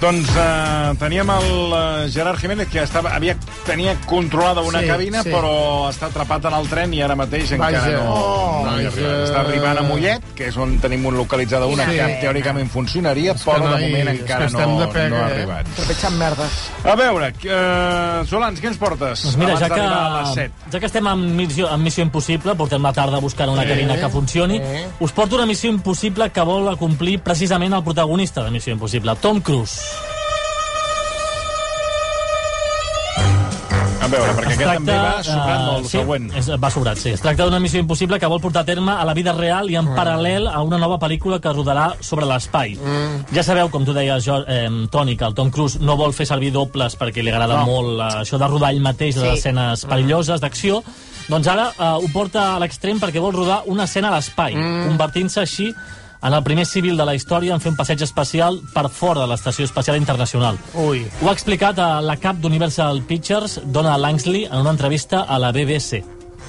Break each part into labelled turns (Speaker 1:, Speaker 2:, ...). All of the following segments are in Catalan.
Speaker 1: Doncs eh, teníem el eh, Gerard Jiménez, que estava, havia, tenia controlada una
Speaker 2: Sí,
Speaker 1: sí, cabina,
Speaker 2: sí.
Speaker 1: sí. però està atrapat en el tren i ara mateix encara
Speaker 2: Vaja.
Speaker 1: no,
Speaker 2: Oh,
Speaker 1: no hi ha
Speaker 2: vaja.
Speaker 1: arribat. Està arribant a Mollet, que és on tenim un localitzada una
Speaker 2: Sí.
Speaker 1: sí. que teòricament funcionaria,
Speaker 2: que
Speaker 1: però
Speaker 2: noi,
Speaker 1: de moment
Speaker 2: és que
Speaker 1: encara no,
Speaker 2: estem de pega,
Speaker 1: no ha
Speaker 2: eh?
Speaker 1: arribat.
Speaker 3: Trepitjant merdes.
Speaker 1: A veure, eh, Solans, què ens portes?
Speaker 4: Doncs mira,
Speaker 1: abans
Speaker 4: ja
Speaker 1: d'arribar a les
Speaker 4: que,
Speaker 1: 7.
Speaker 4: ja que estem en missió, en missió impossible, portem la tarda buscant una cabina que funcioni, us porto una missió impossible que vol acomplir precisament el protagonista de Missió Impossible, Tom Cruise.
Speaker 1: A veure, perquè aquest també va sobrant
Speaker 4: eh,
Speaker 1: molt, el
Speaker 4: sí,
Speaker 1: següent.
Speaker 4: És, va sobrat, sí. Es tracta d'una missió impossible que vol portar a terme a la vida real i en paral·lel a una nova pel·lícula que rodarà sobre l'espai. Ja sabeu, com tu deies, jo, eh, Toni, que el Tom Cruise no vol fer servir dobles perquè li agrada molt eh, això de rodar ell mateix les escenes perilloses d'acció, doncs ara eh, ho porta a l'extrem perquè vol rodar una escena a l'espai, convertint-se així en el primer civil de la història en fer un passeig espacial per fora de l'Estació Espacial Internacional.
Speaker 2: Ui.
Speaker 4: Ho ha explicat a la cap d'Universal Pictures, Donna Langsley, en una entrevista a la BBC.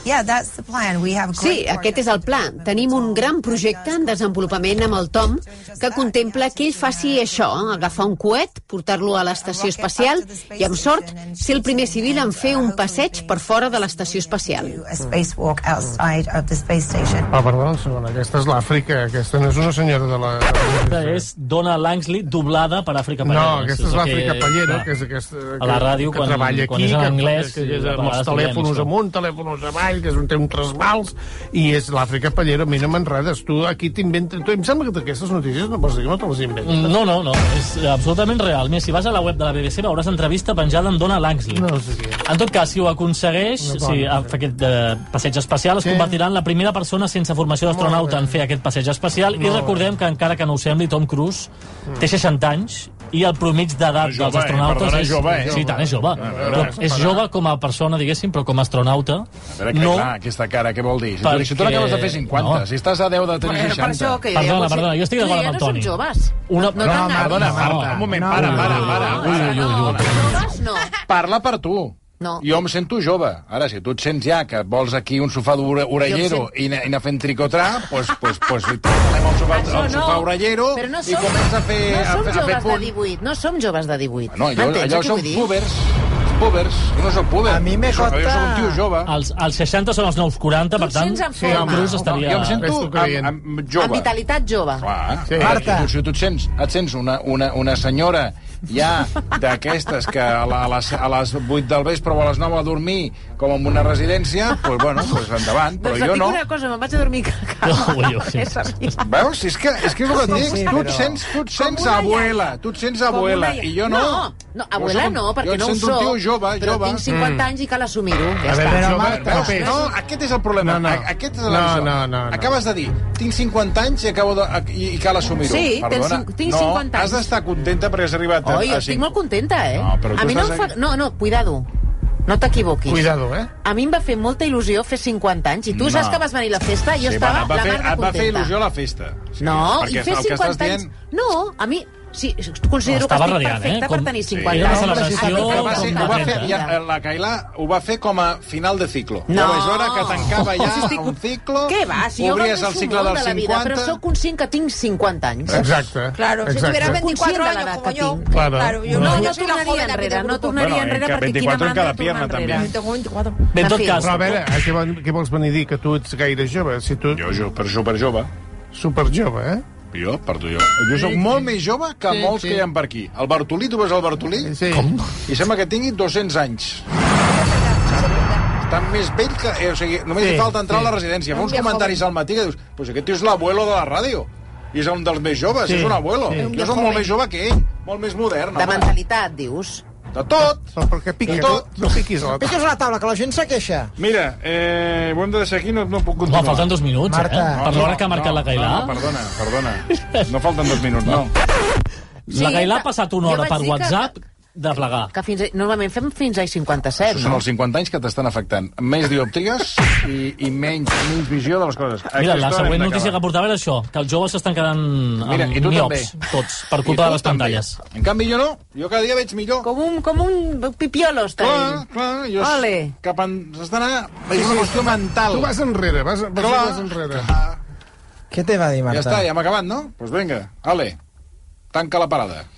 Speaker 5: Yeah, that's the plan. We have
Speaker 6: Sí, aquest és el pla. Tenim un gran projecte en desenvolupament amb el Tom que contempla que ell faci això, agafar un coet, portar-lo a l'estació espacial i, amb sort, ser el primer civil en fer un passeig per fora de l'estació espacial.
Speaker 5: A spacewalk outside of the space station.
Speaker 2: Ah, perdona un segon, aquesta és l'Àfrica, aquesta no és una senyora de la...
Speaker 4: Aquesta és Donna Langsley, doblada per Àfrica
Speaker 2: No,
Speaker 4: Pallera.
Speaker 2: aquesta és
Speaker 4: el
Speaker 2: l'Àfrica Pallera,
Speaker 4: clar.
Speaker 2: que és aquesta...
Speaker 4: A la ràdio,
Speaker 2: que
Speaker 4: quan,
Speaker 2: treballa
Speaker 4: quan
Speaker 2: aquí,
Speaker 4: és en
Speaker 2: que-
Speaker 4: anglès...
Speaker 2: Que, que és
Speaker 4: a
Speaker 2: amb els
Speaker 4: vegades
Speaker 2: telèfons
Speaker 4: trobem,
Speaker 2: amunt, telèfons avall, que és un, té un trasbals, i és l'Àfrica Pallera, a mi no m'enredes. Tu aquí t'inventes... Tu, em sembla que aquestes notícies no pots dir que no te les inventes.
Speaker 4: No, no, no, és absolutament real. Mira, si vas a la web de la BBC veuràs entrevista penjada amb Donna Langsley.
Speaker 2: No sé què.
Speaker 4: En tot cas, si ho aconsegueix,
Speaker 2: Una
Speaker 4: si
Speaker 2: dona.
Speaker 4: fa aquest eh, passeig espacial, es
Speaker 2: Sí.
Speaker 4: convertirà en la primera persona sense formació d'astronauta
Speaker 2: Molt
Speaker 4: en fer aquest passeig espacial. I recordem que, encara que no ho sembli, Tom Cruise té 60 anys i el promig d'edat
Speaker 1: És
Speaker 4: dels
Speaker 1: jove, eh?
Speaker 4: astronautes
Speaker 1: Perdona, és jove, eh?
Speaker 4: Sí, i tant, és jove.
Speaker 1: veure,
Speaker 4: Però
Speaker 1: és
Speaker 4: és jove com a persona, diguéssim, però com a astronauta,
Speaker 1: A veure, que,
Speaker 4: no...
Speaker 1: clar, aquesta cara, què vol dir? Si,
Speaker 4: Perquè-
Speaker 1: tu- si tu l'acabes de fer 50,
Speaker 4: no.
Speaker 1: si estàs a 10 de tenir 60...
Speaker 4: Perdona, perdona, jo estic d'acord amb el Toni.
Speaker 6: Ja no som joves.
Speaker 4: Una...
Speaker 6: No, no, no,
Speaker 1: Perdona,
Speaker 4: No.
Speaker 1: Marta, un moment, para, para, para. para,
Speaker 6: no,
Speaker 1: para.
Speaker 6: joves no.
Speaker 1: Parla per tu.
Speaker 6: No.
Speaker 1: Jo em sento jove. Ara, si tu et sents ja que vols aquí un sofà d'ore- orellero
Speaker 6: sent-
Speaker 1: i, anar- i anar fent tricotrà, doncs pues, pues, pues, li posarem el sofà,
Speaker 6: Això
Speaker 1: el
Speaker 6: no.
Speaker 1: sofà orellero
Speaker 6: Però no
Speaker 1: i
Speaker 6: som-
Speaker 1: comença a fer...
Speaker 6: No
Speaker 1: a, fer-
Speaker 6: som
Speaker 1: a fer
Speaker 6: joves de
Speaker 1: punt.
Speaker 6: 18, no som joves de 18.
Speaker 1: No, allò,
Speaker 6: M'entens
Speaker 1: allò
Speaker 6: el que
Speaker 1: són
Speaker 6: vull dir?
Speaker 1: púbers. Púbers. Jo no soc púber.
Speaker 3: A mi me
Speaker 1: Jo soc- Jo
Speaker 3: conta-
Speaker 1: soc un tio jove. Ah.
Speaker 4: Els, els 60 són els nous 40, per
Speaker 6: Tu
Speaker 4: tant,
Speaker 6: sents en
Speaker 4: Tom
Speaker 6: forma.
Speaker 4: Cruise estaria...
Speaker 1: Jo em sento
Speaker 2: Ves tu creient.
Speaker 1: amb, amb
Speaker 6: Amb
Speaker 1: jove.
Speaker 6: vitalitat jove.
Speaker 1: Clar,
Speaker 2: Sí.
Speaker 1: sí. Marta.
Speaker 3: Marta.
Speaker 1: Tu, si tu et sents, et sents una, una, una senyora ja d'aquestes que a, la, a, les, a les 8 del vespre o a les 9 a dormir com en una residència, doncs pues, bueno, pues endavant, però
Speaker 6: et
Speaker 1: jo
Speaker 6: dic
Speaker 1: no.
Speaker 6: Doncs una cosa, me'n vaig a dormir.
Speaker 4: No, ui, ui.
Speaker 1: Veus? Si és que, és que és el que et dic.
Speaker 3: sí,
Speaker 1: tu et
Speaker 3: però-
Speaker 1: sents, tu et sents
Speaker 6: una
Speaker 1: abuela, tu et sents abuela,
Speaker 6: una-
Speaker 1: i jo no.
Speaker 6: No, no
Speaker 1: Jo
Speaker 6: abuela
Speaker 1: soc un-
Speaker 6: no, perquè no
Speaker 1: jo et
Speaker 6: ho
Speaker 1: sento
Speaker 6: sóc.
Speaker 1: un tio jove,
Speaker 6: però
Speaker 1: jove.
Speaker 6: tinc
Speaker 4: Mm.
Speaker 6: 50 anys i cal assumir-ho. Ja
Speaker 2: A
Speaker 6: està.
Speaker 2: veure,
Speaker 3: Però,
Speaker 2: jove,
Speaker 3: Marta,
Speaker 2: però
Speaker 1: Veus?
Speaker 2: pes.
Speaker 1: No, aquest és el problema.
Speaker 2: No, no.
Speaker 1: A- Aquest és
Speaker 2: No,
Speaker 1: l'abisme.
Speaker 2: no, no, no.
Speaker 1: Acabes de dir, tinc 50 anys i, acabo de, i, i cal assumir-ho.
Speaker 6: Sí, tens
Speaker 1: Perdona.
Speaker 6: cinc- tinc
Speaker 1: no,
Speaker 6: 50 anys.
Speaker 1: has d'estar contenta perquè has arribat a,
Speaker 6: Oi,
Speaker 1: a
Speaker 6: estic
Speaker 1: cinc.
Speaker 6: molt contenta, eh?
Speaker 1: No, però tu
Speaker 6: a mi no em fa...
Speaker 1: estàs-
Speaker 6: No, no, cuidado. No t'equivoquis.
Speaker 2: Cuidado, eh?
Speaker 6: A mi em va fer molta il·lusió fer 50 anys. I tu
Speaker 1: No.
Speaker 6: saps que vas venir a la festa i jo estava
Speaker 1: va,
Speaker 6: la
Speaker 1: fer,
Speaker 6: mar de
Speaker 1: et va fer
Speaker 6: contenta.
Speaker 1: il·lusió la festa.
Speaker 6: No,
Speaker 1: Perquè
Speaker 6: i fer
Speaker 1: el que
Speaker 6: 50
Speaker 1: estàs
Speaker 6: anys...
Speaker 1: dient-
Speaker 6: No, a mi... Sí, considero que
Speaker 4: Estava
Speaker 6: estic
Speaker 4: radiant,
Speaker 6: perfecta
Speaker 4: eh?
Speaker 6: per
Speaker 4: Com-
Speaker 6: tenir
Speaker 4: Sí,
Speaker 6: 50
Speaker 4: era una
Speaker 6: anys.
Speaker 4: celebració
Speaker 6: A mi
Speaker 1: Però
Speaker 4: com
Speaker 1: va ser,
Speaker 6: m'encanta.
Speaker 1: ho va fer,
Speaker 4: contenta.
Speaker 1: ja, eh, la Cailà ho va fer com a final de ciclo.
Speaker 6: No.
Speaker 1: Ja vaig veure que tancava ja
Speaker 6: Si estic-
Speaker 1: un ciclo,
Speaker 6: Què va? Si jo
Speaker 1: obries
Speaker 6: gaudeixo
Speaker 1: el cicle
Speaker 6: molt
Speaker 1: dels
Speaker 6: de la
Speaker 1: 50...
Speaker 6: vida, però sóc conscient que tinc 50 anys.
Speaker 2: Exacte.
Speaker 7: Claro, si
Speaker 2: exacte.
Speaker 7: tuviera 24
Speaker 6: Consciente de la
Speaker 7: años
Speaker 6: edad
Speaker 7: como
Speaker 6: que
Speaker 7: yo,
Speaker 6: tiene.
Speaker 2: Claro.
Speaker 7: claro, yo
Speaker 2: No,
Speaker 7: no,
Speaker 6: yo
Speaker 7: yo soy la
Speaker 6: tornaría
Speaker 7: joven
Speaker 6: enreda,
Speaker 7: aquí del
Speaker 6: no
Speaker 7: grupo.
Speaker 6: tornaría
Speaker 1: Bueno, enreda que
Speaker 7: porque
Speaker 1: 24 en
Speaker 7: manda
Speaker 1: cada
Speaker 7: turna
Speaker 1: pierna
Speaker 7: enreda.
Speaker 1: también.
Speaker 7: Yo tengo 24.
Speaker 4: Bé, en tot
Speaker 6: En fi.
Speaker 4: cas,
Speaker 2: Però a veure, a què, vol- què vols venir a dir? Que tu ets gaire jove? Si tu...
Speaker 1: Jo, jo, per super jove.
Speaker 2: Superjove, eh?
Speaker 1: Jo, per tu, jo. Jo sóc molt més jove que
Speaker 2: Sí,
Speaker 1: molts
Speaker 2: sí.
Speaker 1: que hi ha per aquí. El Bartolí, tu veus el Bartolí?
Speaker 2: Sí. Com?
Speaker 1: I sembla que tingui 200 anys. Està més vell que... Eh, o sigui, només
Speaker 2: Sí,
Speaker 1: li falta entrar
Speaker 2: sí.
Speaker 1: a la residència. Fa uns
Speaker 7: viejo
Speaker 1: comentaris al matí que dius pues aquest tio és l'abuelo de la ràdio. I és un dels més joves,
Speaker 2: Sí,
Speaker 1: és un abuelo.
Speaker 2: sí. Un
Speaker 1: Jo
Speaker 7: viejo
Speaker 1: soc molt
Speaker 7: vell.
Speaker 1: més jove que ell, molt més modern.
Speaker 6: De
Speaker 1: home.
Speaker 6: mentalitat, dius?
Speaker 1: de tot.
Speaker 2: Però per què pica?
Speaker 1: I tot.
Speaker 2: No piquis a la
Speaker 3: Piques una taula, que la gent se queixa.
Speaker 1: Mira, eh, ho hem de deixar aquí, no, no puc
Speaker 4: No,
Speaker 1: continuar.
Speaker 4: falten dos minuts,
Speaker 3: Marta.
Speaker 4: eh? Per l'hora que ha marcat la Gailà.
Speaker 2: eh?
Speaker 1: No, perdona, perdona. No falten dos minuts, no.
Speaker 4: La Gailà ha passat una
Speaker 6: Jo
Speaker 4: hora
Speaker 6: vaig
Speaker 4: per
Speaker 6: dir que-
Speaker 4: WhatsApp de plegar.
Speaker 7: Que fins a, normalment fem fins als
Speaker 6: Eh,
Speaker 7: 57,
Speaker 1: Són
Speaker 7: no?
Speaker 1: els 50 anys que t'estan afectant. Més dioptries i, i menys, menys visió de les coses.
Speaker 4: Mira, la
Speaker 1: Aquesta hora
Speaker 4: següent
Speaker 1: hem
Speaker 4: notícia que
Speaker 1: d'acabar.
Speaker 4: portava era això, que els joves s'estan quedant
Speaker 1: Mira, i
Speaker 4: amb
Speaker 1: tu
Speaker 4: miops,
Speaker 1: també.
Speaker 4: tots, per
Speaker 1: I
Speaker 4: culpa de
Speaker 1: tu
Speaker 4: les
Speaker 1: també.
Speaker 4: pantalles.
Speaker 1: En canvi, jo no. Jo cada dia veig millor.
Speaker 7: Com un, com un pipiolo, està
Speaker 1: Clar, clar. Jo
Speaker 7: Ole.
Speaker 1: s- cap en... S'està anant... És una qüestió mental.
Speaker 2: Tu vas enrere, vas, vas,
Speaker 1: Clar.
Speaker 2: vas enrere.
Speaker 3: Què te va dir,
Speaker 1: Ja
Speaker 3: Marta?
Speaker 1: està, ja hem acabat, no? Doncs pues vinga, ale, tanca la parada.